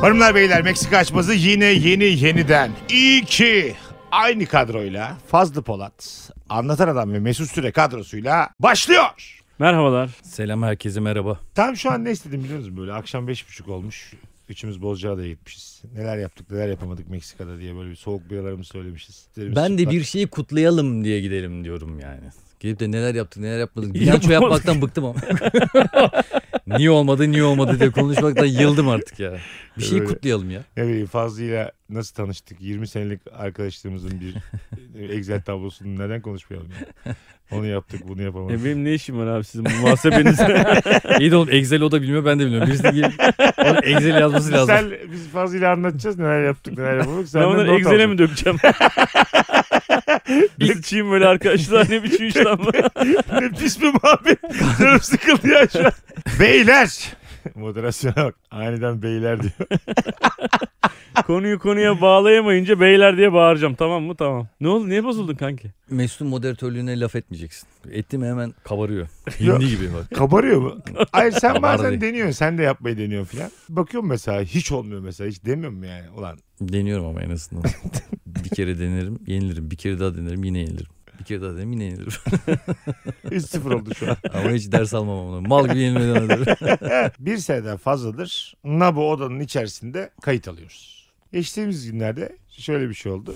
Hanımlar beyler Meksika açması yine yeni yeniden. İyi ki aynı kadroyla Fazlı Polat, Anlatan Adam ve Mesut Süre kadrosuyla başlıyor. Merhabalar. Selam herkese merhaba. Tam şu an ne istedim biliyor musun? Böyle akşam beş buçuk olmuş. Üçümüz Bozcaada'ya gitmişiz. Neler yaptık neler yapamadık Meksika'da diye böyle bir soğuk biralarımızı söylemişiz. Üzerimiz Ben de çıplak. bir şeyi kutlayalım diye gidelim diyorum yani. Gelip de neler yaptık neler yapmadık. Yapamadık. Bilanço yapmaktan bıktım ama. niye olmadı niye olmadı diye konuşmaktan yıldım artık ya. Bir şeyi Öyle. kutlayalım ya. Ne bileyim Fazlı'yla nasıl tanıştık? 20 senelik arkadaşlığımızın bir Excel tablosunu neden konuşmayalım? ya? Onu yaptık bunu yapamadık. E benim ne işim var abi sizin bu muhasebenizde? İyi de oğlum Excel o da bilmiyor ben de bilmiyorum. Birisi gibi onun Excel yazması lazım. Sen, biz Fazlı'yla anlatacağız neler yaptık neler yapamadık. ben Sen onları Excel'e mi dökeceğim? Bir sıçayım böyle arkadaşlar ne biçim işlenme. Ne pis bir muhabbet. Canım sıkıldı ya şu an. Beyler. Moderasyona bak. Aniden beyler diyor. Konuyu konuya bağlayamayınca beyler diye bağıracağım tamam mı tamam. Ne oldu niye bozuldun kanki? Mesut'un moderatörlüğüne laf etmeyeceksin. Ettim hemen kabarıyor. Yok. Hindi gibi bak. Kabarıyor mu? Hayır sen bazen Kabardı. deniyorsun. Sen de yapmayı deniyorsun filan. Bakıyorum mesela hiç olmuyor mesela. Hiç demiyorum yani. Ulan Deniyorum ama en azından. bir kere denerim yenilirim. Bir kere daha denerim yine yenilirim. Bir kere daha denerim yine yenilirim. 3-0 oldu şu an. ama hiç ders almam onu. Mal gibi yenilmeden alırım. bir seneden fazladır Nabu odanın içerisinde kayıt alıyoruz. Geçtiğimiz günlerde şöyle bir şey oldu.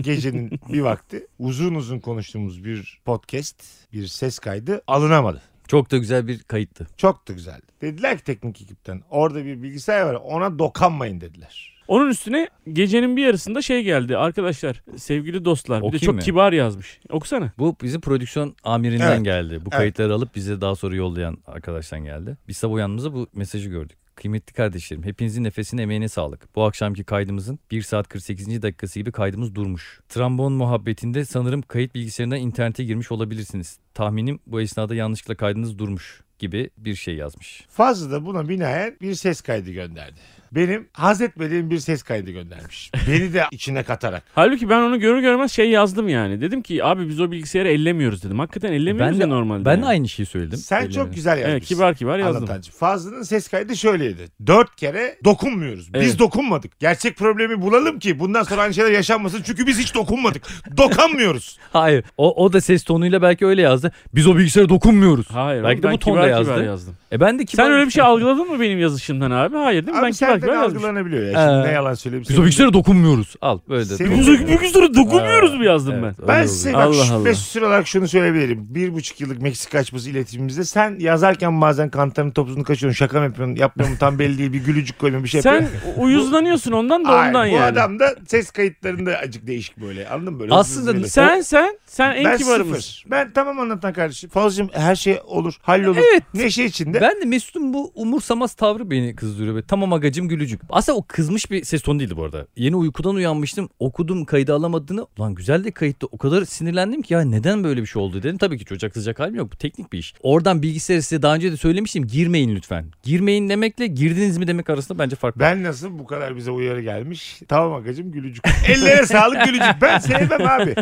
Gecenin bir vakti uzun uzun konuştuğumuz bir podcast, bir ses kaydı alınamadı. Çok da güzel bir kayıttı. Çok da güzeldi. Dediler ki teknik ekipten orada bir bilgisayar var ona dokanmayın dediler. Onun üstüne gecenin bir yarısında şey geldi arkadaşlar sevgili dostlar bir de Okuyayım çok mı? kibar yazmış. Okusana. Bu bizi prodüksiyon amirinden Evet. geldi. Bu Evet. kayıtları alıp bize daha sonra yollayan arkadaştan geldi. Biz sabah uyanımıza bu mesajı gördük. Kıymetli kardeşlerim hepinizin nefesine emeğine sağlık. Bu akşamki kaydımızın 1 saat 48. dakikası gibi kaydımız durmuş. Trombon muhabbetinde sanırım kayıt bilgisayarından internete girmiş olabilirsiniz. Tahminim bu esnada yanlışlıkla kaydınız durmuş gibi bir şey yazmış. Fazla da buna binaen bir ses kaydı gönderdi. Benim haz etmediğim bir ses kaydı göndermiş. Beni de içine katarak. Halbuki ben onu görür görmez şey yazdım yani. Dedim ki abi biz o bilgisayarı ellemiyoruz dedim. Hakikaten ellemiyoruz Ben ya de- normalde. Ben yani. de aynı şeyi söyledim. Sen çok Ellerine. güzel yazmışsın. Evet, kibar kibar yazdım. Anlatancı. Fazlı'nın ses kaydı şöyleydi. Dört kere dokunmuyoruz. Biz Evet. dokunmadık. Gerçek problemi bulalım ki bundan sonra aynı şeyler yaşanmasın. Çünkü biz hiç dokunmadık. Dokanmıyoruz. Hayır o, o da ses tonuyla belki öyle yazdı. Biz o bilgisayara dokunmuyoruz. Hayır Belki oğlum, de ben bu tonda kibar yazdı. kibar yazdım. E ben de kibar... Sen öyle bir şey algıladın mı benim yazışımdan abi? Hayır değil mi? ben Abi kibar senden kibar yazmışım. algılanabiliyor ya. Şimdi Ee, ne yalan söyleyeyim. Biz o bilgisayara dokunmuyoruz. Al böyle de. Senin- Biz o bilgisayara dokunmuyoruz mu yazdım ben? Ben size bak Allah şu- Allah. Mesut Süre olarak şunu söyleyebilirim. Bir buçuk yıllık Meksika açması iletişimimizde sen yazarken bazen kantarın topuzunu kaçıyorsun. Şaka mı yapıyorsun? Yapmıyor mu? Tam belli değil. Bir gülücük koymuyor. Bir şey Sen yapıyor. uyuzlanıyorsun ondan da Ay, ondan Bu yani. adam da ses kayıtlarında acık değişik böyle. Anladın mı? Böyle Aslında hızlı hızlı. Sen sen sen en ben kibarımız. sıfır. Ben tamam anlatan kardeşim. Fazlacığım her şey olur. Hallolur. Evet. Neşe içinde. Ben de Mesut'un bu umursamaz tavrı beni kızdırıyor. Böyle, tamam agacım gülücük. Aslında o kızmış bir ses tonu değildi bu arada. Yeni uykudan uyanmıştım. Okudum kaydı alamadığını. Lan güzel de kayıttı. O kadar sinirlendim ki ya neden böyle bir şey oldu dedim. Tabii ki çocuğa kızacak halim yok. Bu teknik bir iş. Oradan bilgisayarı size daha önce de söylemiştim. Girmeyin lütfen. Girmeyin demekle girdiniz mi demek arasında bence fark var. Ben nasıl bu kadar bize uyarı gelmiş? Tamam agacım gülücük. Ellere sağlık gülücük. Ben sevmem abi.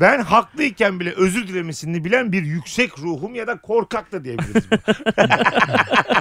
Ben haklıyken bile özür dilemesini bilen bir yüksek ruhum ya da korkak da diyebiliriz.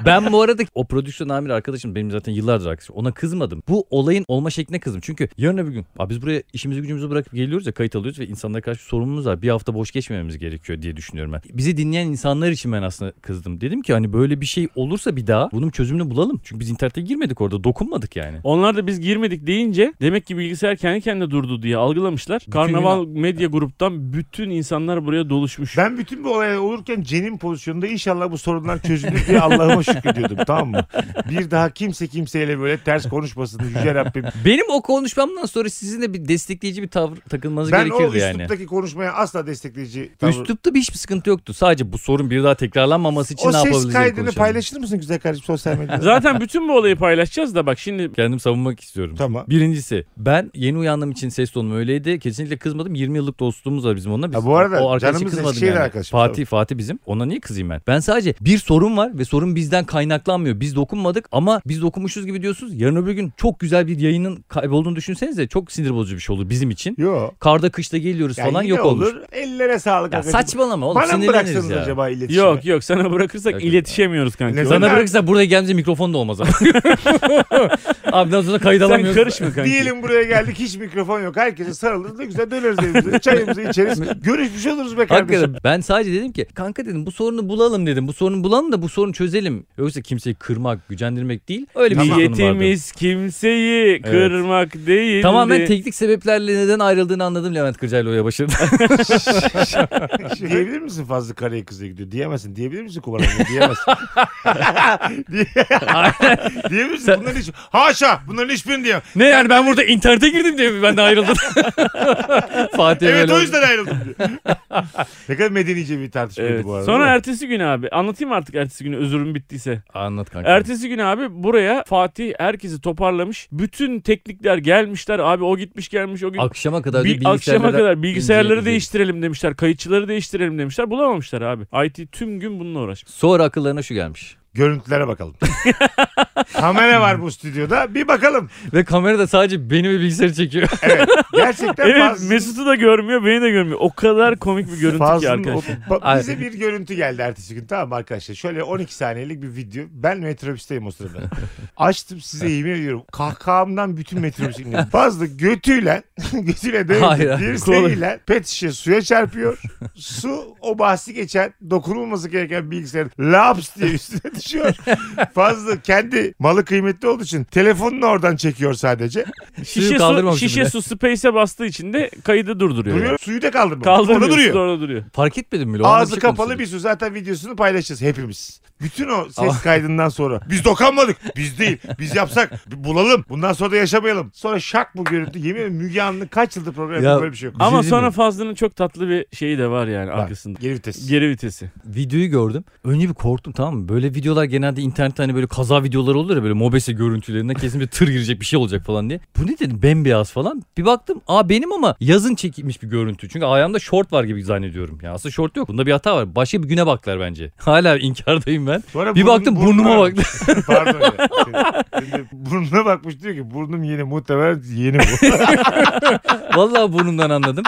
ben bu arada o prodüksiyon amiri arkadaşım benim zaten yıllardır arkadaşım ona kızmadım. Bu olayın olma şekline kızdım. Çünkü yarın öbür gün abi biz buraya işimizi gücümüzü bırakıp geliyoruz ya kayıt alıyoruz ve insanlara karşı sorumluluğumuz var. Bir hafta boş geçmememiz gerekiyor diye düşünüyorum ben. Bizi dinleyen insanlar için ben aslında kızdım. Dedim ki hani böyle bir şey olursa bir daha bunun çözümünü bulalım. Çünkü biz internete girmedik orada dokunmadık yani. Onlar da biz girmedik deyince demek ki bilgisayar kendi kendine durdu diye algılamışlar. Karnaval medya gruptan bütün insanlar buraya doluşmuş. Ben bütün bu olay olurken Cen'in pozisyonunda inşallah bu sorunlar çözülür diye Allah'ıma şükrediyordum tamam mı? Bir daha kimse kimseyle böyle ters konuşmasın Yüce Rabbim. Benim o konuşmamdan sonra sizin de bir destekleyici bir tavır takılmanız Ben o gerekirdi yani. üsluptaki konuşmaya asla destekleyici tavır- Üslupta bir hiçbir sıkıntı yoktu. Sadece bu sorun bir daha tekrarlanmaması için O ne yapabiliriz? ses diye kaydını konuşalım. paylaşır mısın güzel kardeşim sosyal medyada? Zaten bütün bu olayı paylaşacağız da bak şimdi Kendim savunmak istiyorum. Tamam. Birincisi ben yeni uyandığım için ses tonum öyleydi. Kesinlikle kızmadım. 20 yıllık dostluğumuz var bizim onunla. Biz, Ha, bu arada o arkadaşa canımız kızmadım Eskişehir arkadaşım, Fatih, tabii. Fatih bizim. Ona niye kızayım ben? Ben sadece bir sorun var ve sorun bizden kaynaklanmıyor. Biz dokunmadık ama biz dokunmuşuz gibi ediyorsunuz. Yarın öbür gün çok güzel bir yayının kaybolduğunu düşünsenize çok sinir bozucu bir şey olur bizim için. Yok. Karda kışta geliyoruz Yani falan yine yok olmuş. olur. Ellere sağlık. Ya arkadaşım. saçmalama oğlum Bana mı sinirleniriz bıraksanız ya. acaba iletişimi? Yok yok sana bırakırsak Yok, yok. iletişemiyoruz kanka. Ne Sen, zaman- Sana bırakırsa burada gelince mikrofon da olmaz abi. Abi daha sonra kayıt sen alamıyoruz. karışma kanka. Diyelim buraya geldik hiç mikrofon yok. Herkese sarılırız da güzel döneriz evimize. Çayımızı içeriz. Görüşmüş oluruz be kardeşim. Hakikaten ben sadece dedim ki kanka dedim bu sorunu bulalım dedim. Bu sorunu bulalım da bu sorunu çözelim. Yoksa kimseyi kırmak, gücendirmek değil. Öyle bir sorun vardı. şey Niyetimiz kimseyi kırmak değil. Tamamen teknik sebeplerle neden ayrıldığını anladım Levent Kırcay'la Oya Başar'ın. Şey. Diyebilir misin Fazlı Kara'ya kızla gidiyor? Diyemezsin. Diyebilir misin Kubar Hanım'a? Diyemezsin. Diye- Diyebilir misin? Bunların hiç... Haşa! Bunların hiçbirini diyemem. ne yani ben burada internete girdim diye mi ben de ayrıldım? Fatih Evet böyle o oldu. yüzden ayrıldım diyor. ne kadar medenice bir tartışmaydı Evet. bu arada. Sonra er- değil mi? ertesi gün abi anlatayım artık ertesi günü özürüm bittiyse. Anlat kanka. Ertesi gün abi buraya Fatih herkesi toparlamış. Bütün teknikler gelmişler abi o gitmiş gelmiş o gün. Akşama kadar Bir bir, akşama kadar bilgisayarları ince- ince- değiştirelim demişler. Kayıtçıları değiştirelim demişler. Bulamamışlar abi. IT tüm gün bununla uğraşmış. Sonra akıllarına şu gelmiş. Görüntülere bakalım. Kamera var bu stüdyoda. Bir bakalım. Ve kamera da sadece beni ve bilgisayarı çekiyor. Gerçekten Evet Fazlı. Mesut'u da görmüyor beni de görmüyor. O kadar komik bir görüntü ki Fazlın arkadaşlar. o- ba- Ay. bize bir görüntü geldi ertesi gün tamam mı arkadaşlar. Şöyle 12 saniyelik bir video. Ben metrobüsteyim o sırada. Açtım size yemin ediyorum. Kahkahamdan bütün metrobüs inliyor. Fazla götüyle, götüyle Hayır, değil hayır. dirseğiyle pet şişe suya çarpıyor. Su o bahsi geçen dokunulması gereken bilgisayarın laps diye üstüne düşüyor. Fazla kendi malı kıymetli olduğu için telefonunu oradan çekiyor sadece. Şişe su, kaldırmamış şişe bile. su space'e bastığı için de kaydı durduruyor. yani. Duruyor, suyu da kaldırmıyor. Kaldırmıyor. Orada duruyor. Orada duruyor. Fark etmedin mi? Lohan'da Ağzı çıkmamış kapalı dedi. bir su. Zaten videosunu paylaşacağız hepimiz. Bütün o Ama- ses kaydından sonra. Biz dokanmadık. Biz değil. Biz yapsak. bir Bulalım. Bundan sonra da yaşamayalım. Sonra şak bu görüntü. Yemin ederim Müge Anlı kaç yıldır program Ya- yapıyor böyle bir şey yok. Bir şey Ama diyeyim sonra mi? Fazlı'nın çok tatlı bir şeyi de var yani Bak, arkasında. Geri vites. Geri vitesi. videoyu gördüm. Önce bir korktum tamam mı? Böyle videolar genelde internette hani böyle kaza videoları olur ya böyle mobese görüntülerinde kesin bir tır girecek bir şey olacak falan diye. Bu ne dedim bembeyaz falan. Bir baktım aa benim ama yazın çekilmiş bir görüntü. Çünkü ayağımda short var gibi zannediyorum. Ya aslında short yok. Bunda bir hata var. Başka bir güne baklar bence. Hala inkardayım ben. Sonra Bir burnun- baktım burnuma burnuna- baktı. Pardon ya. Şimdi- şimdi Burnuna bakmış diyor ki burnum yeni muhtemelen yeni bu. Vallahi burnumdan anladım.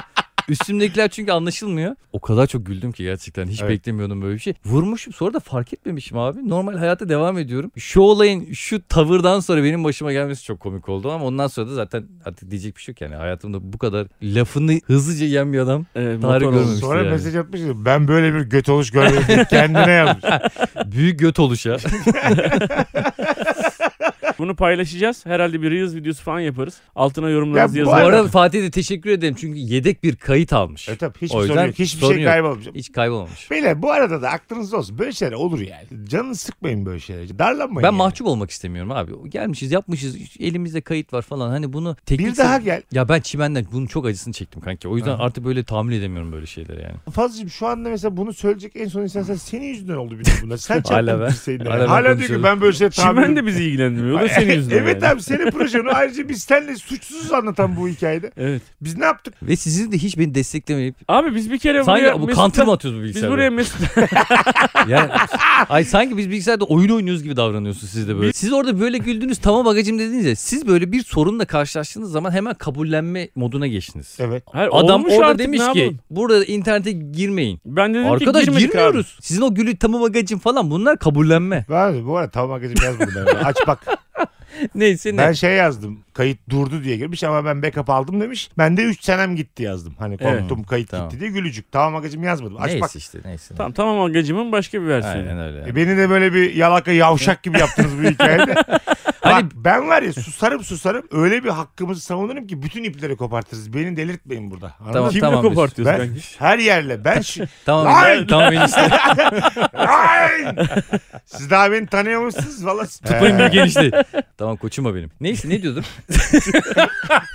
Üstümdekiler çünkü anlaşılmıyor. O kadar çok güldüm ki gerçekten. Hiç Evet. beklemiyordum böyle bir şey. Vurmuşum sonra da fark etmemişim abi. Normal hayata devam ediyorum. Şu olayın şu tavırdan sonra benim başıma gelmesi çok komik oldu. Ama ondan sonra da zaten artık diyecek bir şey yok yani. Hayatımda bu kadar lafını hızlıca yiyen bir adam. Ee, Tarih motor olmuş. görmemiş. Sonra yani. mesaj atmış diyor, ben böyle bir göt oluş görmedim diye kendine yazmış. Büyük göt oluşa. Bunu paylaşacağız. Herhalde bir Reels videosu falan yaparız. Altına yorumlarınızı Ya bu bu yazın. arada Fatih'e de teşekkür ederim. Çünkü yedek bir kayıt almış. E tabii hiçbir O sorun yüzden yok. Hiçbir sorun şey yok. kaybolmamış. Hiç kaybolmamış. Beyler bu arada da aklınızda olsun. Böyle şeyler olur yani. Canını sıkmayın böyle şeylere. Darlanmayın. Ben yani. mahcup olmak istemiyorum abi. Gelmişiz yapmışız elimizde kayıt var falan. Hani bunu teknik Bir daha gel. Ya ben çimenden bunun çok acısını çektim kanki. O yüzden Aha. artık böyle tahammül edemiyorum böyle şeyleri yani. Fazlıcığım şu anda mesela bunu söyleyecek en son insan sen senin yüzünden oldu bütün bunlar. Sen çarptın Hala ben- dirseğinden. hala ben Hala, hala diyor ki konuşuyorum. ben böyle şey Çimen tahmin de bizi ilgilendirmiyor. O da senin yüzünden. Evet yani. abi senin projen o. ayrıca biz seninle suçsuzuz anlatan bu hikayede. Evet. Biz ne yaptık? Ve sizin de hiç beni desteklemeyip Abi biz bir kere buraya sanki bu Mesut'la- counter mı atıyoruz bu Biz bilgisayarda? buraya Mesut Yani, ay sanki biz bilgisayarda oyun oynuyoruz gibi davranıyorsunuz siz de böyle. Siz orada böyle güldünüz tamam bagacım dediniz ya. Siz böyle bir sorunla karşılaştığınız zaman hemen kabullenme moduna geçtiniz. Evet. Hayır, Adam E, olmuş orada artık, demiş ne ki yapalım? burada internete girmeyin. Ben de dedim Arkadaş ki girmedik girmiyoruz. Sizin o gülü tamam bagacım falan bunlar kabullenme. Ben bu arada tamam magazin yazmadım ben. Aç bak. Neyse ne. Ben şey yazdım. Kayıt durdu diye girmiş ama ben backup aldım demiş. Ben de 3 senem gitti yazdım. Hani Evet. korktum kayıt Tamam. gitti diye gülücük. Tamam magazin yazmadım. Aç neyse bak. işte neyse. Abi. Tamam tamam agacımın başka bir versiyonu. Aynen öyle. yani. E beni de böyle bir yalaka yavşak gibi yaptınız bu hikayede. Hani- Bak ben var ya susarım susarım öyle bir hakkımızı savunurum ki bütün ipleri kopartırız. Beni delirtmeyin burada. Anladın Tamam, mı? Kimle tamam biz. kopartıyorsun Ben kanki? her yerle ben şu... Tamam, Lan! tamam enişte. Ay! Siz daha beni tanıyormuşsunuz valla. Tıpayım Ee, bir genişti. tamam koçuma benim. Neyse ne diyordum?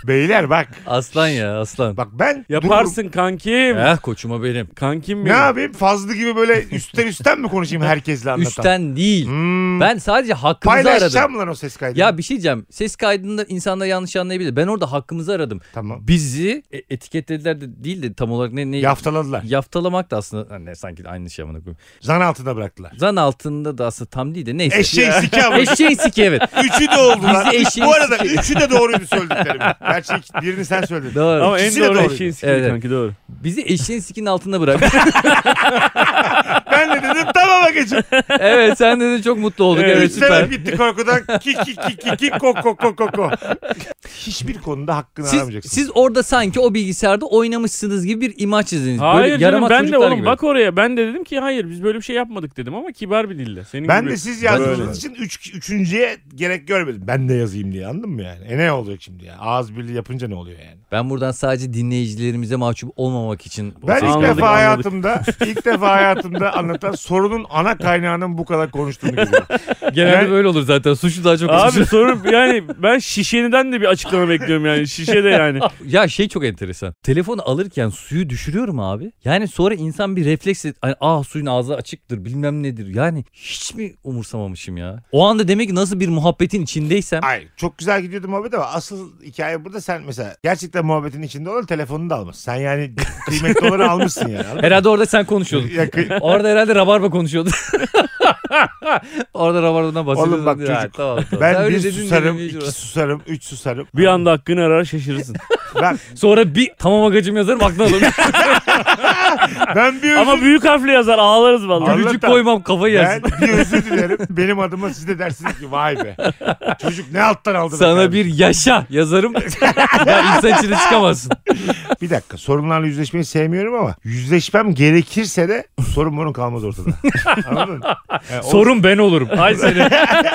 beyler bak. Aslan ya aslan. Bak ben dururum. Yaparsın kankim. Eh koçuma benim. Kankim Ne benim. yapayım? Fazlı gibi böyle üstten üstten mi konuşayım herkesle anlatan? Üçten değil. Hmm. Ben sadece hakkımızı Paylaşacağım aradım. lan o ses kaydını. Ya bir şey diyeceğim. Ses kaydında insanlar yanlış anlayabilir. Ben orada hakkımızı aradım. Tamam. Bizi e- etiketlediler de değil de tam olarak ne ne Yaftaladılar. yaftalamak da aslında hani sanki aynı şey amına koyayım. Zan altında bıraktılar. Zan altında da aslında tam değil de neyse. Eşeği siki ama. Eşeği siki evet. Üçü de oldular. Bizi eşeği Bu arada üçü de doğruydu söylediklerim. Gerçi iki- birini sen söyledin. Doğru. Ama en İkisi de doğru doğruydu. eşeğin sikili Evet. kanki doğru. Bizi eşeğin sikinin altında bırak. Ben de dedim tamam Akacığım. evet sen de çok mutlu olduk. Evet, Evet, Üç süper. sebep gitti korkudan. Ki ki ki ki ki ko ko ko ko ko. Hiçbir konuda hakkını Siz, aramayacaksın. siz orada sanki o bilgisayarda oynamışsınız gibi bir imaj çizdiniz. Hayır Böyle canım yaramaz ben de çocuklar oğlum gibi. bak oraya ben de dedim ki hayır biz böyle bir şey yapmadık dedim ama kibar bir dille. Senin Ben gibi. de siz yazdığınız Böyle. için üç, üçüncüye gerek görmedim. Ben de yazayım diye anladın mı yani? E ne olacak şimdi ya? Ağız birliği yapınca ne oluyor yani? Ben buradan sadece dinleyicilerimize mahcup olmamak için. Ben ilk Anladık, defa anladık. hayatımda ilk defa hayatımda anlatan sorunun ana kaynağının bu kadar konuştuğunu görüyorum. Genelde Ben- böyle olur zaten. Suçlu daha çok Abi soru yani ben şişeniden de bir açıklama bekliyorum yani şişede yani. Ya şey çok enteresan. Telefonu alırken suyu düşürüyorum abi. Yani sonra insan bir refleks hani ah suyun ağzı açıktır bilmem nedir. Yani hiç mi umursamamışım ya? O anda demek ki nasıl bir muhabbetin içindeysem. Ay çok güzel gidiyordu muhabbet ama asıl hikaye burada sen mesela gerçekten muhabbetin içinde olan telefonunu da almışsın. Sen yani kıymetli olanı almışsın yani. anladın mı? Herhalde orada sen konuşuyordun. Ya kı- Orada herhalde rabarba konuşuyordu. Orada rabarbadan bahsediyordun. Oğlum bak Ya, çocuk, tamam, tamam. Sen ben öyle bir dedin diye susarım, dinleyici iki var. susarım, üç susarım. Bir anda hakkını arar şaşırırsın. Ben, Sonra bir tamam agacım yazarım aklına alırım. ben bir özür, ama büyük harfle yazar ağlarız vallahi. Abi- Gülücük Anlatan. koymam kafayı ben yersin. bir özür dilerim. Benim adıma siz de dersiniz ki vay be. Çocuk ne alttan aldı. be Sana kardeşim. bir yaşa yazarım. ya insan içine çıkamazsın. Bir dakika sorunlarla yüzleşmeyi sevmiyorum ama yüzleşmem gerekirse de sorun bunun kalmaz ortada. Anladın mı? Yani o- Sorun ben olurum. Ay seni. E,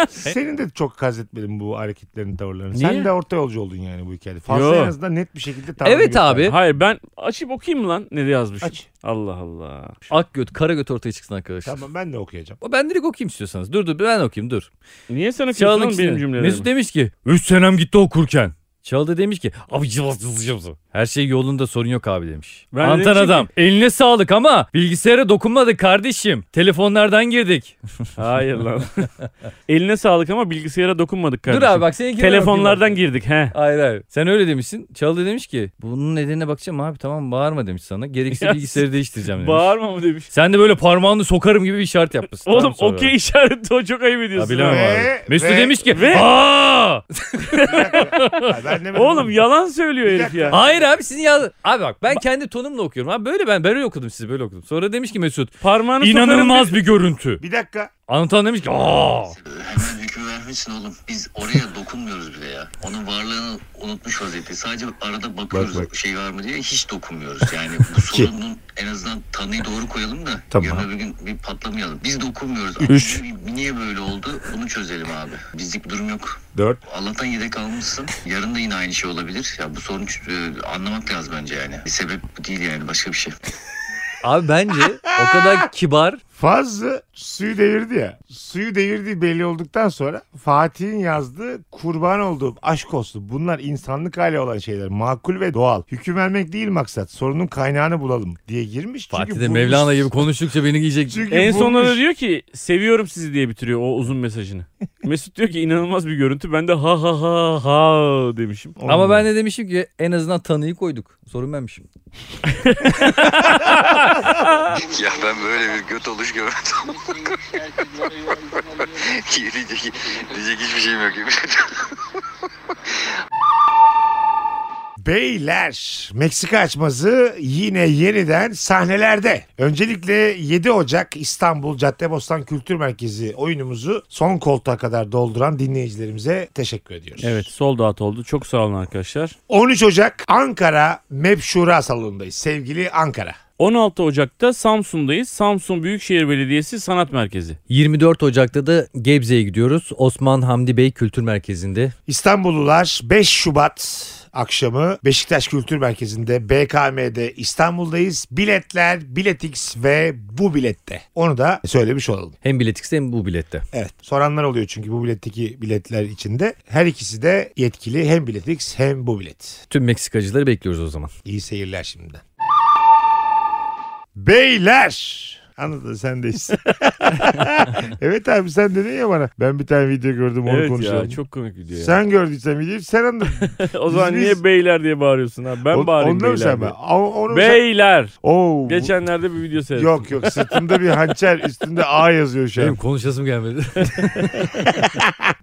Senin de çok kaz etmedim bu hareketlerin tavırlarını. Niye? Sen de orta yolcu oldun yani bu hikayede. Fazla Yo. en azından net bir şekilde tavrını evet göster. abi. Hayır ben açıp okuyayım mı lan ne yazmış. Aç. Allah Allah. Ak göt, kara göt ortaya çıksın arkadaşlar. Tamam ben de okuyacağım. Ben direkt okuyayım istiyorsanız. Dur dur ben okuyayım dur. Niye sen okuyorsun Çağla'nın oğlum benim ikisini. cümlelerimi? Mesut demiş ki 3 senem gitti okurken. Çağla da demiş ki abi cıvız cıvız cıvız. Her şey yolunda sorun yok abi demiş. Ben de Antan demişim adam eline sağlık ama bilgisayara dokunmadık kardeşim. Telefonlardan girdik. Hayır lan. Eline sağlık ama bilgisayara dokunmadık kardeşim. Dur abi bak seninki Telefonlardan girdik he. Hayır hayır. Sen öyle demişsin. Çağla da demiş ki bunun nedenine bakacağım abi tamam bağırma demiş sana. Ya Gerekirse bilgisayarı değiştireceğim demiş. Bağırma mı demiş. Sen de böyle parmağını sokarım gibi bir işaret yapmışsın. Oğlum Tamam sonra. okey işareti o çok ayıp Ya ediyorsun. bilemem ha. Ve- abi. Mesut ve- demiş ki ve- "Aa!" Ha, ben demedim. Oğlum yalan söylüyor herif ya. Hayır abi sizin yaz... Abi bak ben kendi tonumla okuyorum. Abi böyle ben böyle okudum sizi böyle okudum. Sonra demiş ki Mesut Parmağını sokarım inanılmaz bir görüntü. Bir dakika. Anlatan demiş ki aa. Sen hüküm vermişsin oğlum. Biz oraya dokunmuyoruz bile ya. Onun varlığını unutmuş vaziyette. Sadece arada bakıyoruz Bak, bak. şey var mı diye hiç dokunmuyoruz. Yani bu sorunun en azından tanıyı doğru koyalım da Tamam. yarın öbür gün bir patlamayalım. Biz dokunmuyoruz. Üç. Abi, Niye böyle oldu? Bunu çözelim abi. Bizlik bir durum yok. Dört. Allah'tan yedek almışsın. Yarın da yine aynı şey olabilir. Ya bu sorunu e, anlamak lazım bence yani. Bir sebep bu değil yani başka bir şey. Abi bence o kadar kibar. Fazlı suyu devirdi ya. Suyu devirdiği belli olduktan sonra Fatih'in yazdığı kurban olduğum aşk olsun. Bunlar insanlık hali olan şeyler. Makul ve doğal. Hüküm vermek değil maksat. Sorunun kaynağını bulalım diye girmiş. Çünkü Fatih de bulmuş. Mevlana gibi konuştukça beni giyecek. Çünkü En sonunda da bulmuş. diyor ki seviyorum sizi diye bitiriyor o uzun mesajını. Mesut diyor ki inanılmaz bir görüntü. Ben de ha ha ha ha demişim. Ama ben de demişim ki en azından tanıyı koyduk. Sorun benmişim. ya ben böyle bir göt oluş görmedim. diyecek, diyecek hiçbir şeyim yok. Beyler Meksika açması yine yeniden sahnelerde. Öncelikle 7 Ocak İstanbul Caddebostan Kültür Merkezi oyunumuzu son koltuğa kadar dolduran dinleyicilerimize teşekkür ediyoruz. Evet sol dağıt oldu. Çok sağ olun arkadaşlar. 13 Ocak Ankara MEP Şura salonundayız. Sevgili Ankara. 16 Ocak'ta Samsun'dayız. Samsun Büyükşehir Belediyesi Sanat Merkezi. 24 Ocak'ta da Gebze'ye gidiyoruz. Osman Hamdi Bey Kültür Merkezi'nde. İstanbullular 5 Şubat akşamı Beşiktaş Kültür Merkezi'nde BKM'de İstanbul'dayız. Biletler, Biletix ve bu bilette. Onu da söylemiş olalım. Hem biletikste hem bu bilette. Evet. Soranlar oluyor çünkü bu biletteki biletler içinde. Her ikisi de yetkili hem biletix hem bu bilet. Tüm Meksikacıları bekliyoruz o zaman. İyi seyirler şimdiden. Beyler Anladın sen de işte. evet abi sen dedin ya bana. Ben bir tane video gördüm onu evet konuşalım. ya çok komik video ya. Sen gördüysen videoyu sen anladın. o zaman biz- niye beyler diye bağırıyorsun ha? Ben On- bağırayım Ondan mı beyler. sen ben? diye. Onu Beyler. Oo, bu- Geçenlerde bir video seyrettim. Yok yok sırtımda bir hançer üstünde A yazıyor şu Benim an. konuşasım gelmedi.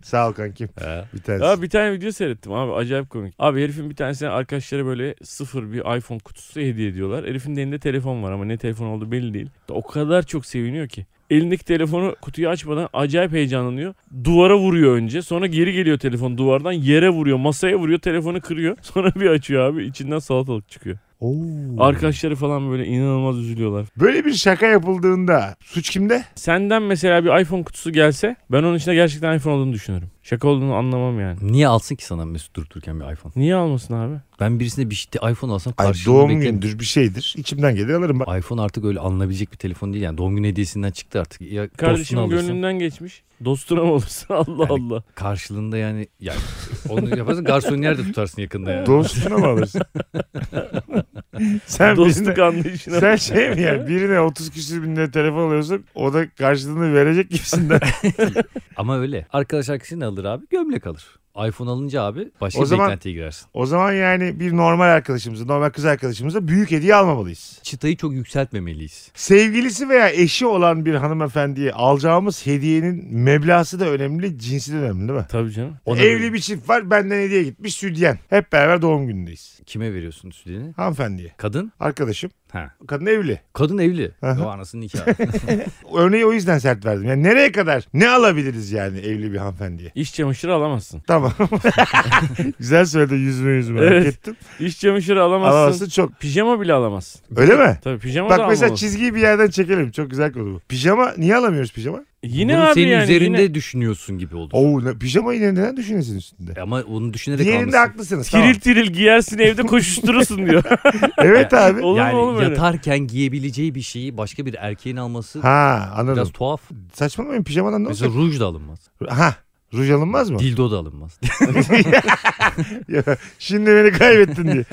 Sağ ol kankim. Bir tanesi. Ya bir tane video seyrettim abi acayip komik. Abi herifin bir tanesine arkadaşlara böyle sıfır bir iPhone kutusu hediye ediyorlar. Herifin de elinde telefon var ama ne telefon olduğu belli değil. O kadar çok seviniyor ki. Elindeki telefonu kutuyu açmadan acayip heyecanlanıyor. Duvara vuruyor önce. Sonra geri geliyor telefon duvardan yere vuruyor. Masaya vuruyor telefonu kırıyor. Sonra bir açıyor abi içinden salatalık çıkıyor. Oo. Arkadaşları falan böyle inanılmaz üzülüyorlar. Böyle bir şaka yapıldığında suç kimde? Senden mesela bir iPhone kutusu gelse ben onun içinde gerçekten iPhone olduğunu düşünürüm. Şaka olduğunu anlamam yani. Niye alsın ki sana Mesut durup dururken bir iPhone? Niye almasın abi? Ben birisine bir şey iPhone alsam Ay, karşılığını doğum beklerim. gündür bir şeydir. İçimden gelir alırım bak. iPhone artık öyle alınabilecek bir telefon değil yani. Doğum günü hediyesinden çıktı artık. Ya dostunu Kardeşim alırsın. gönlünden geçmiş. Dostuna mı olursun? Allah Yani- Allah. Karşılığında yani, yani onu yaparsın garsoniyer de tutarsın yakında yani. Dostuna mı alırsın? sen birine, Dostluk anlayışına. sen şey mi ya birine 30 küsür bin lira telefon alıyorsun o da karşılığını verecek gibisinden. Ama öyle. Arkadaş arkadaşını alır abi gömlek alır. iPhone alınca abi başka O bir zaman- beklentiye girersin. o zaman yani bir normal arkadaşımıza normal kız arkadaşımıza büyük hediye almamalıyız. Çıtayı çok yükseltmemeliyiz. Sevgilisi veya eşi olan bir hanımefendiye alacağımız hediyenin meblası da önemli, cinsi de önemli değil mi? Tabii canım. Ona Evli göre bir çift var benden hediye gitmiş südyen. Hep beraber doğum günündeyiz. Kime veriyorsun sütini? Hanımefendiye. Kadın? Arkadaşım. Ha. Kadın evli. Kadın evli. Aha. O anasının nikahı. Örneği o yüzden sert verdim. Yani nereye kadar ne alabiliriz yani evli bir hanımefendiye? İş çamaşırı alamazsın. Tamam. Güzel söyledin yüzme yüzme hak Evet. ettim. İş çamaşırı alamazsın. Havası çok. Pijama bile alamazsın. Öyle mi? Tabii pijama da Bak mesela alamazsın. çizgiyi bir yerden çekelim. Çok güzel konu bu. Pijama niye alamıyoruz pijama? Yine Bunu abi senin yani. üzerinde Yine... düşünüyorsun gibi oldu. Oo, ne, pijamayı ne- neden düşünüyorsun üstünde? Ama onu düşünerek Diğerinde almışsın. haklısınız. Tamam. Tiril tiril giyersin evde koşuşturursun diyor. Evet abi. Olur mu olur Yani mu öyle? yatarken giyebileceği bir şeyi başka bir erkeğin alması Ha anladım. biraz tuhaf. Saçmalamayın pijamadan ne olacak? Mesela ruj da alınmaz. Ha ruj alınmaz mı? Dildo da alınmaz. Ya, Şimdi beni kaybettin diye.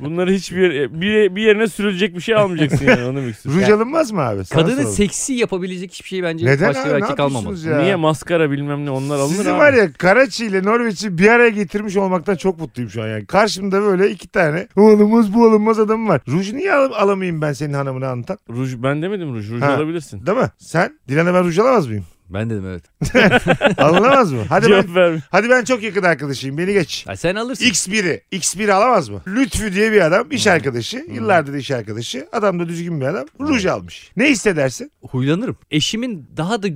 Bunları hiçbir bir, bir yerine sürülecek bir şey almayacaksın yani onu büksün. Ruj alınmaz mı abi? Sana Kadının soralım. seksi yapabilecek hiçbir şey bence Neden başka abi? bir Ne erkek almamalı. yapıyorsunuz ya? Niye maskara bilmem ne onlar alınır Sizi abi. var ya Karaçi ile Norveç'i bir araya getirmiş olmaktan çok mutluyum şu an yani. Karşımda böyle iki tane o alınmaz bu alınmaz adam var. Ruj niye al- alamayayım ben senin hanımını anlatan? Ruj ben demedim ruj. Ruj Ha. alabilirsin. Değil mi? Sen Dilan'a ben ruj alamaz mıyım? Ben dedim evet. Alınamaz mı? Hadi ben, Cevap verme. hadi ben çok yakın arkadaşıyım beni geç. Ya sen alırsın. X1'i. X1'i alamaz mı? Lütfü diye bir adam iş arkadaşı. Yıllardır iş arkadaşı. Adam da düzgün bir adam. Ruj almış. Ne hissedersin? Huylanırım. Eşimin daha da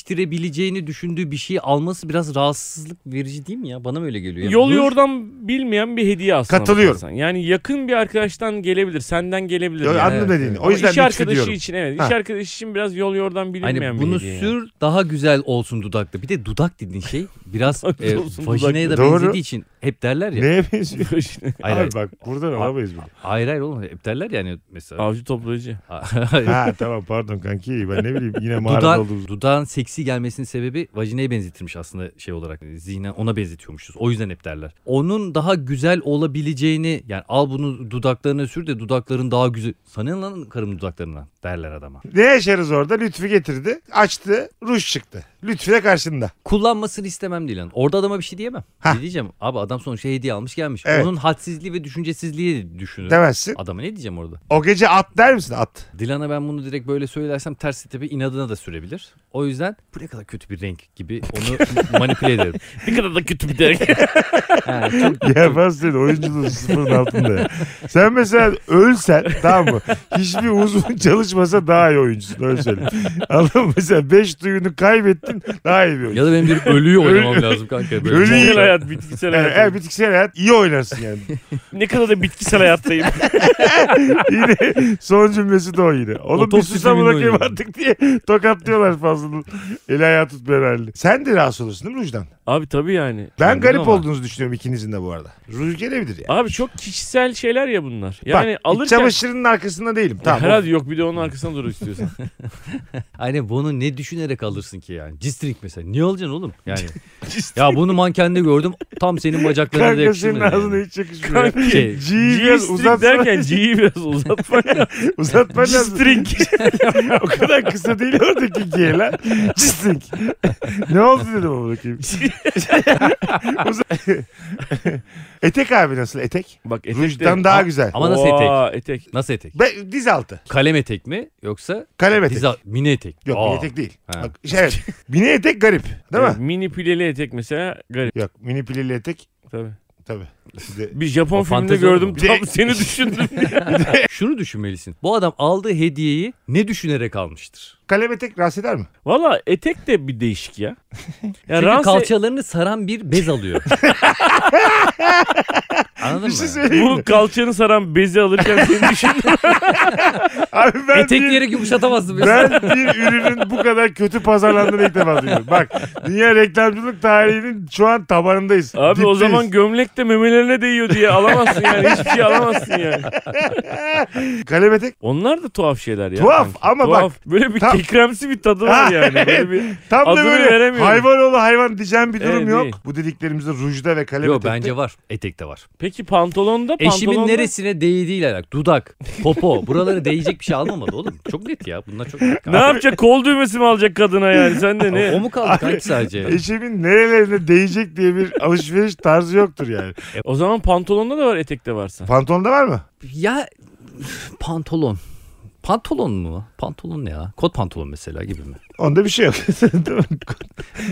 güzelleştirebileceğini düşündüğü bir şeyi alması biraz rahatsızlık verici değil mi ya? Bana mı öyle geliyor? Yani Yol ruj- yordan bilmeyen bir hediye aslında. Katılıyorum. bakarsan. Yani yakın bir arkadaştan gelebilir, senden gelebilir. Yo, yani. Anladım evet, dediğini. O Ama yüzden iş lütfü arkadaşı diyorum. için evet. İş Ha. arkadaşı için biraz yol yordan bilinmeyen Hani bir bunu hediye. sür daha güzel olsun dudakta. Bir de dudak dediğin şey biraz Dudak e, olsun vajinaya da dudakta. Doğru. benzediği için hep derler ya. Neye benziyor? yani. Hayır, Abi hayır, bak buradan alamayız bunu. hayır hayır oğlum hep derler yani mesela. Avcı toplayıcı. Ha tamam pardon kanki ben ne bileyim yine mağarada Dudağın, olduğumuz. dudağın seksi gelmesinin sebebi vajinaya benzetirmiş aslında şey olarak. Zihnen ona benzetiyormuşuz. O yüzden hep derler. Onun daha güzel olabileceğini yani al bunu dudaklarına sür de dudakların daha güzel. Sanın lan karım dudaklarına derler adama. Ne yaşarız orada? Lütfi getirdi. Açtı. Ruj çıktı. Lütfi de karşında. Kullanmasını istemem değil lan. Orada adama bir şey diyemem. Hah. Ne diyeceğim? Abi adam sonuçta hediye almış gelmiş. Evet. Onun hadsizliği ve düşüncesizliği düşünür. Demezsin. Adama ne diyeceğim orada? O gece at der misin? At. Dilan'a ben bunu direkt böyle söylersem ters tepe inadına da sürebilir. O yüzden bu ne kadar kötü bir renk gibi onu manipüle ederim. Ne kadar da kötü bir dergi. Ha, çok Ya Basri oyunculuğun sıfırın altında. Sen mesela ölsen tamam mı? Hiçbir uzun çalışmasa daha iyi oyuncusun. Öyle söyleyeyim. Anladın mı? Mesela 5 duyunu kaybettin daha iyi bir oyuncu. Ya da benim bir ölüyü Ölü- oynamam lazım kanka. Böyle Ölüyü- şey bitkisel Ölüyü hayat, bitkisel Yani hayat. eğer bitkisel şey hayat iyi oynarsın yani. Ne kadar da bitkisel hayattayım. yine son cümlesi de o yine. Oğlum bir Otopsi susam filminde bırakayım oynuyor. artık diye tokatlıyorlar fazlının. Eli ayağı tutmayan halini. Sen de rahatsız olursun değil mi Rujdan? Abi tabii yani. Ben Kendim garip ama. olduğunuzu düşünüyorum ikinizin de bu arada. Ruj gelebilir yani. Abi çok kişisel şeyler ya bunlar. Yani Bak, iç alırken... çamaşırının arkasında değilim. Tamam. Tamam. Herhalde yok bir de onun arkasına dur istiyorsan. Aynen bunu ne düşünerek alırsın ki yani? Cistrik mesela. Niye alacaksın oğlum? Yani. ya bunu mankende gördüm. Tam senin bacaklarına da Kanka yakışır senin mı? yani? ağzına hiç yakışmıyor. Kanki. Şey, G'yi biraz G-string uzatma, derken G'yi biraz uzatman lazım. uzatma lazım. G-string. o kadar kısa değil oradaki G lan. Cisting. ne oldu dedim ama bakayım. Uza- etek abi nasıl etek? Bak etek Rujdan de- daha Aa, güzel. Ama nasıl etek? Aa, etek. Nasıl etek? Be, diz altı. Kalem etek mi yoksa Kalem etek. diz al- mini etek? Yok Aa. mini etek değil. Ha. Bak, şey, evet. Mini etek garip değil Evet, mi? Mini pileli etek mesela garip Yok mini pilili etek tabii. tabii. Bir de- Bir Japon O filminde fantezi gördüm olur mu? tam seni düşündüm. Şunu düşünmelisin. Bu adam aldığı hediyeyi ne düşünerek almıştır? Kalem etek rahatsız eder mi? Valla etek de bir değişik ya. ya Çünkü ranse- kalçalarını saran bir bez alıyor. Anladın Bir şey mı? söyleyeyim mi? bu kalçanı saran bezi alırken seni düşündüm. Abi ben bir- Etekleri yumuşatamazsın mesela. Ben bir ürünün bu kadar kötü pazarlandığını ilk defa duyuyorum. Bak dünya reklamcılık tarihinin şu an tabanındayız. Abi o Dipteyiz. zaman gömlek de memelerine değiyor diye alamazsın yani. Hiçbir şey alamazsın yani. kalem etek Onlar da tuhaf şeyler ya. Tuhaf kanki. ama bak- Tuhaf. Böyle bir Tam- kekremsi bir tadı var Ha, yani. Böyle evet. bir... tam da Adını böyle veremiyorum. hayvan oğlu hayvan diyeceğim bir durum Evet, yok. değil. Bu dediklerimizde rujda ve kalem Yok etekte. bence var. Etekte var. Peki pantolonda pantolonda... Eşimin neresine değdiğiyle alakalı. Dudak, popo. Buralara değecek bir şey almamalı oğlum. Çok net ya. Bunlar çok net. Ne yapacak? Kol düğmesi mi alacak kadına yani? Sen de O ne? mu kaldı kanki sadece? Eşimin nerelerine değecek diye bir alışveriş tarzı yoktur yani. E, O zaman pantolonda da var etekte varsa. Pantolonda var mı? Ya pantolon. Pantolon mu? Pantolon ne ya? Kot pantolon mesela gibi mi? Onda bir şey yok. Değil mi?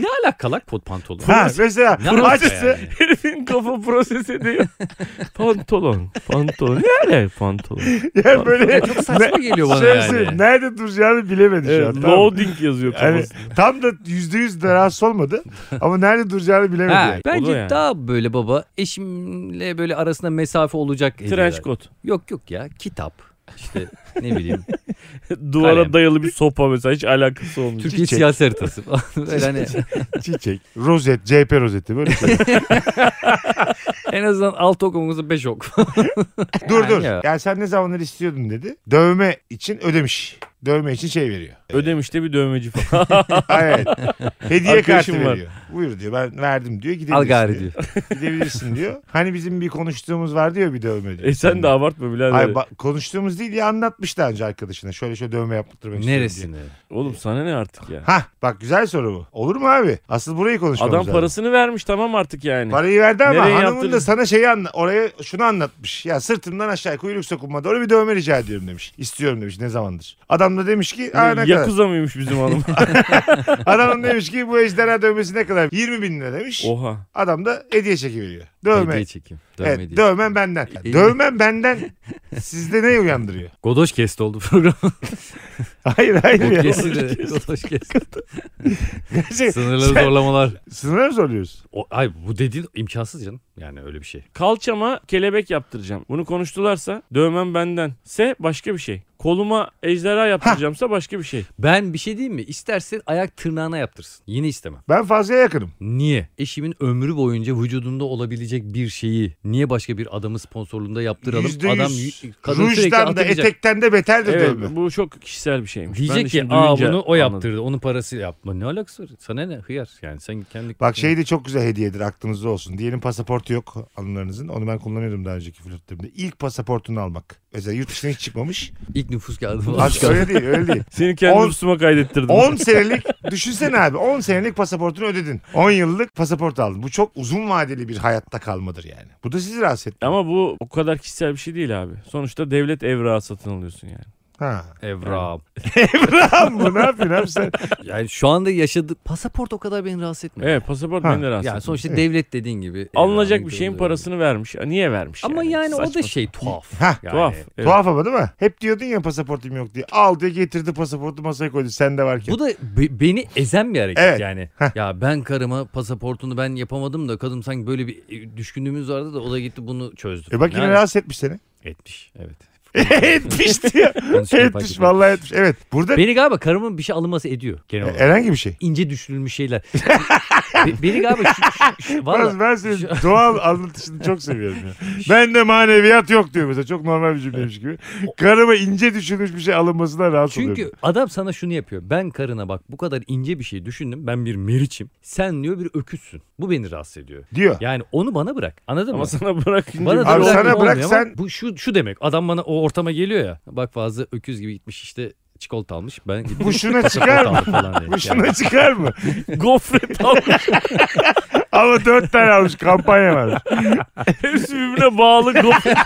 Ne alaka lan kot pantolon? ha, mesela Ne alaka açsa yani? Herifin kafa proses ediyor. pantolon. Pantolon. Ne alaka pantolon? yani böyle Çok saçma geliyor bana şey söyleyeyim, yani. nerede duracağını bilemedi şu an. Evet, tamam mı? loading yazıyor Yani kafasında. Hani tam da yüzde yüz de rahatsız olmadı. Ama nerede duracağını bilemedi. Ha, yani. bence O da yani. daha böyle baba eşimle böyle arasında mesafe olacak hediyeler. Trench coat. Yok yok ya kitap. İşte ne bileyim. Duvara Kalem. dayalı bir sopa mesela hiç alakası olmuyor. Türkiye Çiçek. siyasi haritası. falan. Böyle hani Çiçek, rozet, CHP rozeti böyle şey. en azından alt okumumuzda 5 ok. dur dur. ya. Ya sen ne zamanlar istiyordun dedi. Dövme için ödemiş. Dövme için şey veriyor. Ödemiş'te bir dövmeci falan. Evet. Hediye Arkadaşım kartı var. veriyor. Buyur diyor ben verdim diyor gidebilirsin Al gari diyor. diyor. Gidebilirsin diyor. Hani bizim bir konuştuğumuz var diyor bir dövme diyor. e sen de abartma birader. Ay, ba- konuştuğumuz değil ya anlatmış daha önce arkadaşına. Şöyle şöyle dövme yaptırmak istiyorum diye. Neresine? Oğlum sana ne artık ya? Hah bak güzel soru bu. Olur mu abi? Asıl burayı konuşmamız Adam lazım. parasını vermiş tamam artık yani. Parayı verdi ama Nereye hanımın da yaptırdın? sana şeyi anla oraya şunu anlatmış. Ya sırtımdan aşağı kuyruk sokunmadı. Öyle bir dövme rica ediyorum demiş. İstiyorum demiş ne zamandır. Adam da demiş ki Bu "Aa, ne kadar?" Yakuza mıymış bizim hanım? Adam da demiş ki bu ejderha dövmesi ne kadar? 20 bin lira demiş. Oha. Adam da hediye çeki veriyor. Dövme. Oh. Hediye çekeyim. Dövme evet, hediye. E, dövmem benden. İyi. Dövmem benden sizde ne uyandırıyor? Godoş kesti oldu program. Hayır hayır. ya. Kesin de. Godoş kesti. Gerçi Sınırları zorlamalar. sınırı Şey, soruyoruz. O, ay bu dediğin imkansız canım. Yani öyle bir şey. Kalçama kelebek yaptıracağım. Bunu konuştularsa dövmem benden. Se başka bir şey. Koluma ejderha yaptıracağımsa başka bir şey. Ben bir şey diyeyim mi? İstersen ayak tırnağına yaptırsın. Yine istemem. Ben fazlaya yakınım. Niye? Eşimin ömrü boyunca vücudunda olabilecek bir şeyi niye başka bir adamın sponsorluğunda yaptıralım? %100. Adam kadın sürekli Rujdan da atacak. etekten de beterdir Evet dövme. bu çok kişisel bir şeymiş. Ben de Diyecek ki şimdi aa duyunca bunu o anladım. yaptırdı. Onun parası yapma. Ne alakası var? Sana ne hıyar? Yani sen kendi... Bak şey de çok güzel hediyedir aklınızda olsun. Diyelim pasaportu yok anılarınızın. Onu ben kullanıyordum daha önceki flörtlerimde. İlk pasaportunu almak. Mesela yurt dışına hiç çıkmamış. İlk nüfus kağıdı falan. Aşk öyle değil öyle değil. Seni kendi On- üstüme kaydettirdim. 10 senelik düşünsene abi 10 senelik pasaportunu ödedin. 10 yıllık pasaport aldın. Bu çok uzun vadeli bir hayatta kalmadır yani. Bu da sizi rahatsız etti. Ama bu o kadar kişisel bir şey değil abi. Sonuçta devlet evrağı satın alıyorsun yani. Ha. Evra. Tamam bu ne yapıyorsun abi sen? Yani şu anda yaşadığı pasaport o kadar beni rahatsız etmiyor. Evet pasaport Ha, beni de rahatsız Yani etmiyor. sonuçta devlet dediğin gibi. Alınacak bir Evra, şeyin Evra. parasını vermiş. Niye vermiş Ama yani o Saçma. da şey tuhaf. Hah. Yani- Tuhaf. evet. Tuhaf ama değil mi? Hep diyordun ya pasaportum yok diye. Al diye getirdi pasaportu masaya koydu. Sen de varken. Bu da be- beni ezen bir hareket Evet. yani. Heh. Ya ben karıma pasaportunu ben yapamadım da kadın sanki böyle bir e, düşkünlüğümüz vardı da o da gitti bunu çözdü. E bak yine Yani- rahatsız etmiş seni. etmiş. Evet. etmiş diyor. Yanlışlıkla fark etmiş ettim. vallahi etmiş. Evet. Burada Beni galiba karımın bir şey alınması ediyor genel olarak. herhangi bir şey. İnce düşünülmüş şeyler. Be- Beni galiba şu, şu- şu- vallahi- Ben, ben senin doğal anlatışını çok seviyorum. Ya. Ben de maneviyat yok diyor mesela. Çok normal bir cümleymiş gibi. Karıma ince düşünmüş bir şey alınmasına rahatsız Çünkü oluyorum. adam sana şunu yapıyor. Ben karına bak bu kadar ince bir şey düşündüm. Ben bir meriçim. Sen diyor bir öküzsün. Bu beni rahatsız ediyor. Diyor. Yani onu bana bırak. Anladın Ama mı? sana bırakınca Bana da Abi bırak- sana olmuyor bırak ama sen- Bu şu, şu demek. Adam bana o ortama geliyor ya. Bak fazla öküz gibi gitmiş işte çikolata almış. Ben gittim Bu şuna pasaport çıkar mı? aldım falan diye. Bu Yani şuna çıkar mı? gofret almış. Ama dört tane almış kampanya var. Hepsi birbirine bağlı gofret.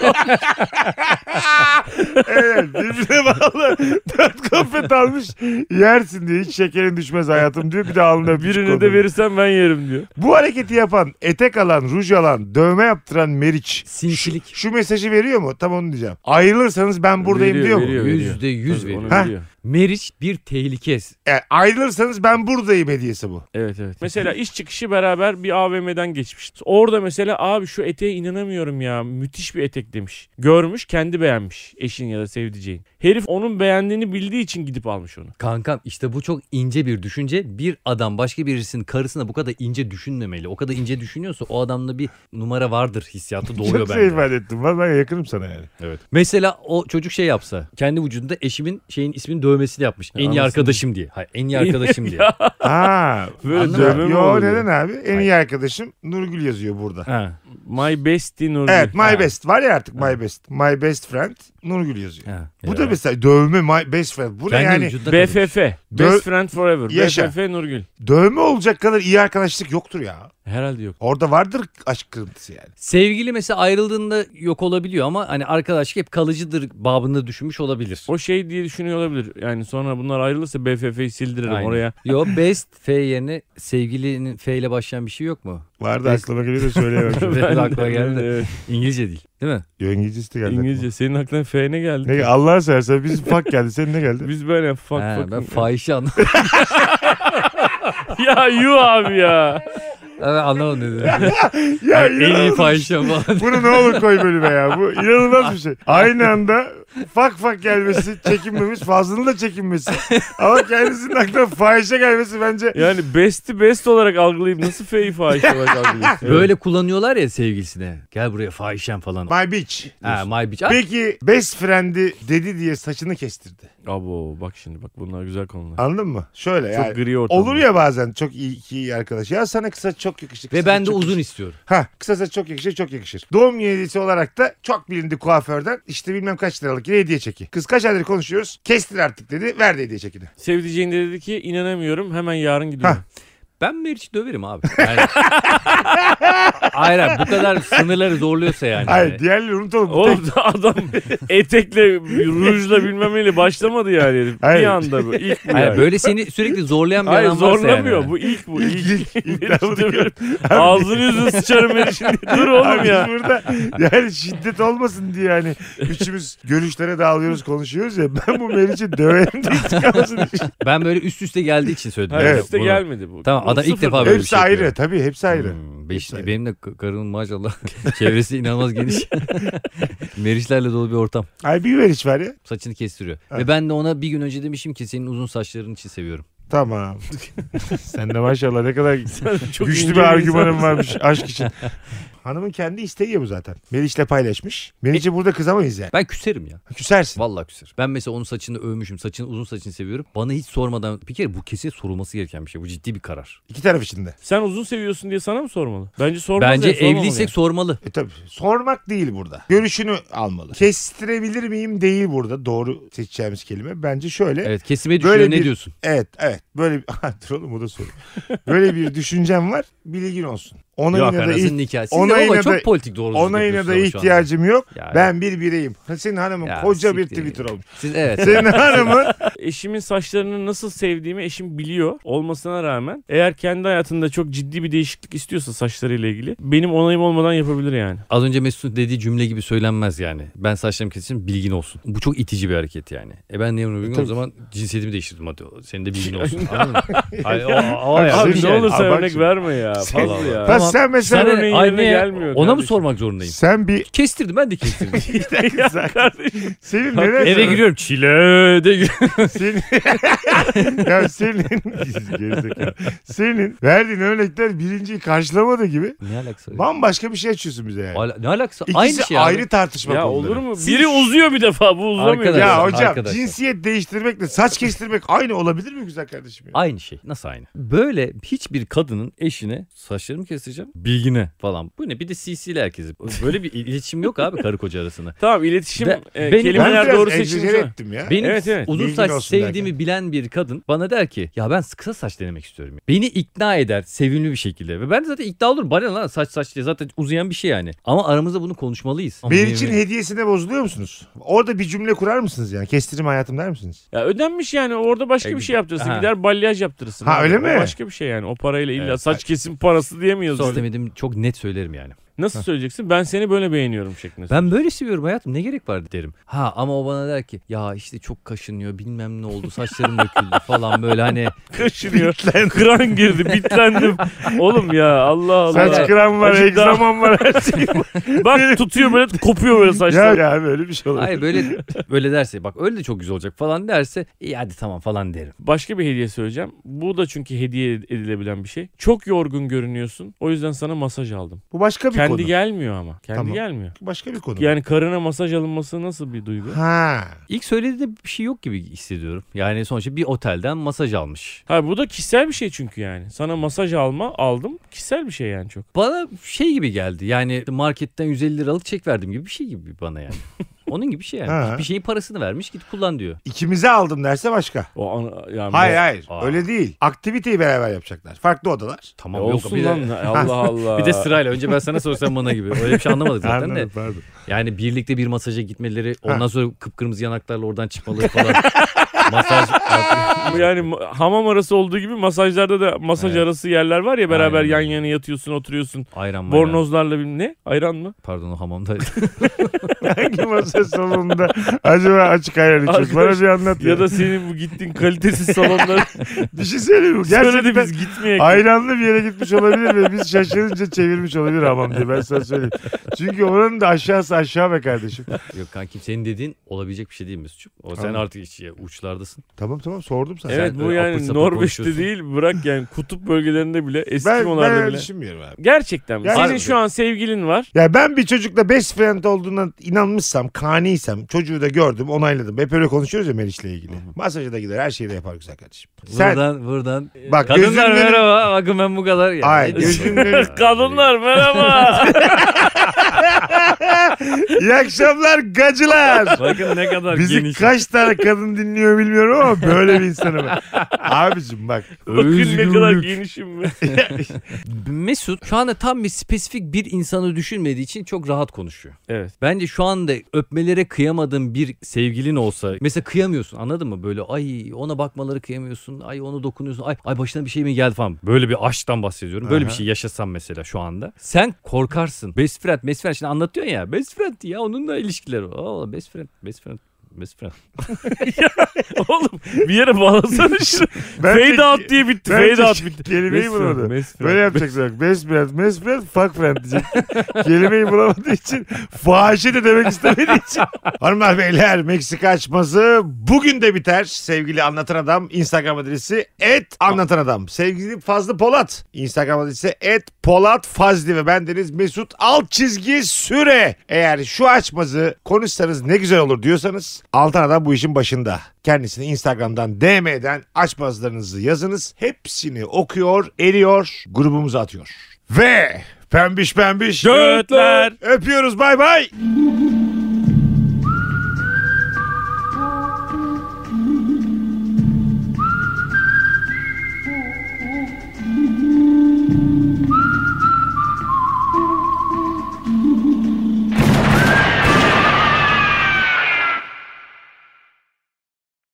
Evet birbirine bağlı. Dört konfet almış yersin diye hiç şekerin düşmez hayatım diyor. Bir de alnına öpücük Birini de koyuyor. verirsen ben yerim diyor. Bu hareketi yapan, etek alan, ruj alan, dövme yaptıran Meriç. Sinsilik. Şu mesajı veriyor mu? Tam onu diyeceğim. Ayrılırsanız ben buradayım Veriyor, diyor mu? veriyor. Yüzde yüz Tabii, onu veriyor. Ha. biliyor. Meriç bir tehlike. E, ayrılırsanız ben buradayım hediyesi bu. Evet evet. Mesela iş çıkışı beraber bir AVM'den geçmiş. Orada mesela abi şu eteğe inanamıyorum ya. Müthiş bir etek demiş. Görmüş kendi beğenmiş. Eşin ya da sevdiceğin. Herif onun beğendiğini bildiği için gidip almış onu. Kankam işte bu çok ince bir düşünce. Bir adam başka birisinin karısına bu kadar ince düşünmemeli. O kadar ince düşünüyorsa o adamda bir numara vardır hissiyatı doğuyor Çok şey bende. ifade ettim. Valla yakınım sana yani. Mesela o çocuk şey yapsa. Kendi vücudunda eşimin şeyin ismini dövmesini yapmış. En iyi Anasını. arkadaşım diye. Hayır, en iyi arkadaşım diye. Aa, Böyle Anlamadım. dövme Yo mi olur? neden abi? En iyi arkadaşım Nurgül yazıyor burada. Ha. My bestie Nurgül. Evet my Ha. best var ya artık my best. My best friend Nurgül yazıyor. Ha. Bu da mesela dövme my best friend. Bu ne Kendi yani? vücudunda kalmış. BFF. Best Dö- friend forever. Yaşa. BFF Nurgül. Dövme olacak kadar iyi arkadaşlık yoktur ya. Herhalde yok. Orada vardır aşk kırıntısı yani. Sevgili mesela ayrıldığında yok olabiliyor ama hani arkadaşlık hep kalıcıdır babında düşünmüş olabilir. O şey diye düşünüyor olabilir. Yani sonra bunlar ayrılırsa BFF'yi sildiririm Aynen. oraya. Yo best F yerine sevgilinin F ile başlayan bir şey yok mu? Vardı aklıma geliyor da söyleyemem. şimdi. Benim de aklıma geldi. Evet. İngilizce değil değil mi? Yo, İngilizcesi de geldi. İngilizce. Senin aklına F ne geldi? Ne, Allah'a seversen biz fuck geldi. Senin ne geldi? Biz böyle fuck Ha, fuck. ben fahişe anlamadım. ya yu abi ya. ben anlamadım dedi. ya en iyi inanılmaz. fahişe falan. Bunu ne olur koy bölüme ya. Bu inanılmaz bir şey. Aynı anda fak fak gelmesi çekinmemiş. Fazlının da çekinmesi. Ama kendisinin aklına fahişe gelmesi bence. Yani best'i best olarak algılayıp nasıl F'yi fahişe olarak algılıyorsun? Böyle kullanıyorlar ya sevgilisine. Gel buraya fahişem falan. My bitch. ha, my bitch. Ay, Peki best friend'i dedi diye saçını kestirdi. Abo bak şimdi bak bunlar güzel konular. Anladın mı? Şöyle Çok yani. gri ortam. Olur ya bazen çok iyi, iki iyi arkadaş. Ya sana kısa çok yakışır. kısa Ve ben de çok uzun yakışır. istiyorum. Ha kısa saç çok yakışır çok yakışır. Doğum günü hediyesi olarak da çok bilindi kuaförden işte bilmem kaç liralık yine hediye çeki. Kız kaç aydır konuşuyoruz kestir artık dedi verdi hediye çekini. Sevdiceğin de dedi ki inanamıyorum hemen yarın Hah. gidiyorum. Ben Meriç'i döverim abi. Yani... hayır hayır, bu kadar sınırları zorluyorsa yani. Hayır diğerleri unutalım. Bu tek- Oğlum da adam etekle rujla bilmem neyle başlamadı yani. herif. Hayır. Bir anda bu ilk bu Hayır, yani. böyle seni sürekli zorlayan bir Hayır adam varsa zorlamıyor yani. bu ilk bu İlk, ilk, ilk. ilk. Herif Abi- dövüyorum. Ağzını yüzünü sıçarım herif şimdi. Dur oğlum Abi ya. burada yani şiddet olmasın diye yani üçümüz görüşlere dağılıyoruz konuşuyoruz ya ben bu Meriç'i döverim diye çıkamasın. Ben böyle üst üste geldiği için söyledim. Hayır Evet, üstte bunu. gelmedi bu. Tamam, Bu adam ilk sıfır. defa böyle- bir hepsi şey ayrı yapıyor. tabii hepsi ayrı. Hmm, beş- Hepsi ayrı. benim de k- karımın maşallah çevresi inanılmaz geniş. Meriçlerle dolu bir ortam. Ay bir Meriç var ya. Saçını kestiriyor. Evet. Ve ben de ona bir gün önce demişim ki senin uzun saçların için seviyorum. Tamam. Sen de maşallah ne kadar Çok Güçlü ince bir argümanım insan. varmış aşk için. Hanımın kendi isteği ya bu zaten. Meriç'le paylaşmış. Meriç'i burada kızamayız yani. Ben küserim ya. Küsersin. Vallahi küser. Ben mesela onun saçını övmüşüm. Saçını uzun saçını seviyorum. Bana hiç sormadan bir kere bu kesin sorulması gereken bir şey. Bu ciddi bir karar. İki taraf içinde. Sen uzun seviyorsun diye sana mı sormalı? Bence sormalı. Bence evliysek sormalı. E tabii sormak değil burada. Görüşünü almalı. Kestirebilir miyim değil burada. Doğru seçeceğimiz kelime. Bence şöyle. Evet Evet Böyle kesime düşüyor ne bir- diyorsun? evet. Böyle bir... Ah, Dur oğlum o da soru. Böyle bir düşüncem var. Bilgin olsun. Ona Yok yine de, anasının iht- nikahı. Siz ona de yine baba de- çok politik doğrusu. ona yine de ihtiyacım yok. Ya- Ben bir bireyim. Senin hanımın Ya koca bir siktir. Twitter olmuş. Siz evet. Senin hanımın Eşimin saçlarını nasıl sevdiğimi eşim biliyor olmasına rağmen eğer kendi hayatında çok ciddi bir değişiklik istiyorsa saçlarıyla ilgili benim onayım olmadan yapabilir yani. Az önce Mesut'un dediği cümle gibi söylenmez yani. Ben saçlarımı keseceğim bilgin olsun. Bu çok itici bir hareket yani. E ben niye bunu bilmiyorum? o tabii. zaman cinsiyetimi değiştirdim hadi. Senin de bilgin olsun. Anladın mı? Hayır, o, o Abi yani. Abi şimdi ne yani, olursa abi bak örnek şimdi. verme ya. Sen- Fazla ya. Pas Tamam. sen mesela Sen- örneğin yerine Aynaya- gelmiyor Ona mı kardeşim. sormak zorundayım? sen bir Kestirdim ben de kestirdim. ya kardeşim. senin neden Eve giriyorum çile de Senin, ya senin, gerizekalı. senin verdiğin örnekler birinciyi karşılamadı gibi Ne alakası? var? bambaşka bir şey açıyorsun bize yani. Ala- ne alakası? İkisi Aynı şey abi. ayrı tartışma Ya konuları. olur mu? Biri uzuyor bir defa bu uzamıyor. Arkadaş- Ya Arkadaşlar, hocam arkadaşlar. cinsiyet değiştirmekle saç kestirmek aynı olabilir mi güzel kardeşim? Ya? Aynı şey. Nasıl aynı? Böyle hiçbir kadının eşine saçlarımı kestireceğim. Bilgine falan. Bu ne? Bir de CC ile herkesi. Böyle bir iletişim yok abi karı koca arasında. Tamam iletişim Be- e, benim- Ben kelimeler biraz doğru egzajere seçilmiş. ettim ya. Benim Evet, evet. uzun Bilgin saç olsun sevdiğimi derken. bilen bir kadın bana der ki ya ben kısa saç denemek istiyorum. Beni ikna eder sevimli bir şekilde. Ve ben de zaten ikna olurum. Bana ne lan saç saç diye zaten uzayan bir şey yani. Ama aramızda bunu konuşmalıyız. Meriç'in hediyesine bozuluyor musunuz? Orada bir cümle kurar mısınız yani? Kestirim hayatım der misiniz? Ya ödenmiş yani orada başka E, bir şey yaptırırsın. aha. Gider balyaj yaptırırsın. Ha, Abi, öyle o mi? Başka bir şey yani. O parayla illa Evet. saç kesim parası diyemiyoruz. Sonra biz. istemediğimi çok net söylerim yani. Nasıl söyleyeceksin? Ben seni böyle beğeniyorum şeklinde. Ben böyle seviyorum hayatım ne gerek var derim. Ha ama o bana der ki ya işte çok kaşınıyor bilmem ne oldu saçlarım döküldü falan böyle hani kaşınıyor. Kıran girdi, bitlendim. Oğlum ya Allah Allah. Saç kıran var, Acık daha- egzaman var her şey var. Bak tutuyor böyle kopuyor böyle ya, saçlar. ya abi öyle bir şey olur. hayır böyle böyle derse bak öyle de çok güzel olacak falan derse iyi hadi tamam falan derim. Başka bir hediye söyleyeceğim. Bu da çünkü hediye edilebilen bir şey. Çok yorgun görünüyorsun. O yüzden sana masaj aldım. Bu başka bir Kendi konu. gelmiyor ama. Kendi Tamam. gelmiyor. başka bir konu. Yani karına masaj alınması nasıl bir duygu? Ha. İlk söylediği de bir şey yok gibi hissediyorum. Yani sonuçta bir otelden masaj almış. Ha bu da kişisel bir şey çünkü yani. Sana masaj alma aldım. Kişisel bir şey yani çok. Bana şey gibi geldi yani marketten 150 liralık çek verdim gibi bir şey gibi bana yani. Onun gibi bir şey Ha. yani. bir şeyin parasını vermiş git kullan diyor. İkimize aldım derse başka. O ana, yani Hayır bu- hayır. Aa. Öyle değil. Aktiviteyi beraber yapacaklar. Farklı odalar. Ya Tamam olsun bir de- lan. Allah Allah. Bir de sırayla önce ben sana sorsam bana gibi. Öyle bir şey anlamadık zaten de. Anladım, pardon. Yani birlikte bir masaja gitmeleri ondan sonra kıpkırmızı yanaklarla oradan çıkmaları falan. Masaj. Bu yani ma- hamam arası olduğu gibi masajlarda da masaj Evet. arası yerler var ya beraber Aynen. yan yana yatıyorsun oturuyorsun. Ayran mayran. Bornozlarla bilmem ne ayran mı? Pardon o hamamda. Hangi masa salonunda acaba açık ayarı çok? Bana Arkadaş, bir anlat ya. Ya da senin bu gittiğin kalitesiz salonlara Bir şey söyleyeyim mi? söyle de Gerçekten biz gitmeyek. ayranlı bir yere gitmiş olabilir ve biz şaşırınca çevirmiş olabilir hamam diye ben sana söyleyeyim. Çünkü oranın da aşağısı aşağı be kardeşim. Yok kankim senin dediğin olabişecek bir şey değil Mesut'cum. O sen Tamam. artık işte uçlardasın. Tamam tamam sordum sana. Evet Sen bu böyle yani apır sapır Norveç'te konuşuyorsun. değil bırak yani kutup bölgelerinde bile Ben, ben Eskimo'larda öyle bile. düşünmüyorum abi. Gerçekten mi? Yani- Senin şu an sevgilin var. Ya ben bir çocukla best friend olduğuna inanmışsam, kaniysem, çocuğu da gördüm, onayladım. Hep öyle konuşuyoruz ya Meriç'le ilgili. Masaja da gider, her şeyi de yapar güzel kardeşim. Sen Buradan buradan. bak gözünün Kadınlar önü- merhaba. Bakın ben bu kadar. Ya. Ay, Ne diyorsun? gözümleri- Kadınlar merhaba. İyi akşamlar gacılar. Bakın ne kadar Bizi geniş. kaç tane kadın dinliyor bilmiyorum ama böyle bir insanım ben. Abicim bak. Bakın ne kadar Özgürlük. genişim ben. Mesut şu anda tam bir spesifik bir insanı düşünmediği için çok rahat konuşuyor. Evet. Bence şu anda öpmelere kıyamadığın bir sevgilin olsa mesela kıyamıyorsun anladın mı? Böyle ay ona bakmaları kıyamıyorsun. Ay onu dokunuyorsun. Ay, ay başına bir şey mi geldi falan. Böyle bir aşktan bahsediyorum. Böyle bir Aha. şey yaşasam mesela şu anda. Sen korkarsın. Best friend, best friend. Şimdi anlatıyorsun ya. Best friend ya onunla ilişkileri. Oo, best friend, best friend. Best friend. Oğlum bir yere bağlasana şunu. Ben de- Fade out diye bitti. ben de şey Fade out bitti. Kelimeyi Best friend, bulamadı. best friend. Böyle şey yapacaklar. Best friend, best friend, fuck friend diyecek. Kelimeyi bulamadığı için fahişe de demek istemediği için. Hanımlar beyler Meksika açması bugün de biter. Sevgili Anlatan Adam Instagram adresi et Anlatan Adam. Sevgili Fazlı Polat Instagram adresi et Polat Fazlı ve bendeniz Mesut alt çizgi süre. Eğer şu açmazı konuşsanız ne güzel olur diyorsanız Altan Adam bu işin başında. Kendisini Instagram'dan DM'den açmazlarınızı yazınız. Hepsini okuyor, eriyor, grubumuza atıyor. Ve pembiş pembiş Götler. öpüyoruz bay bay.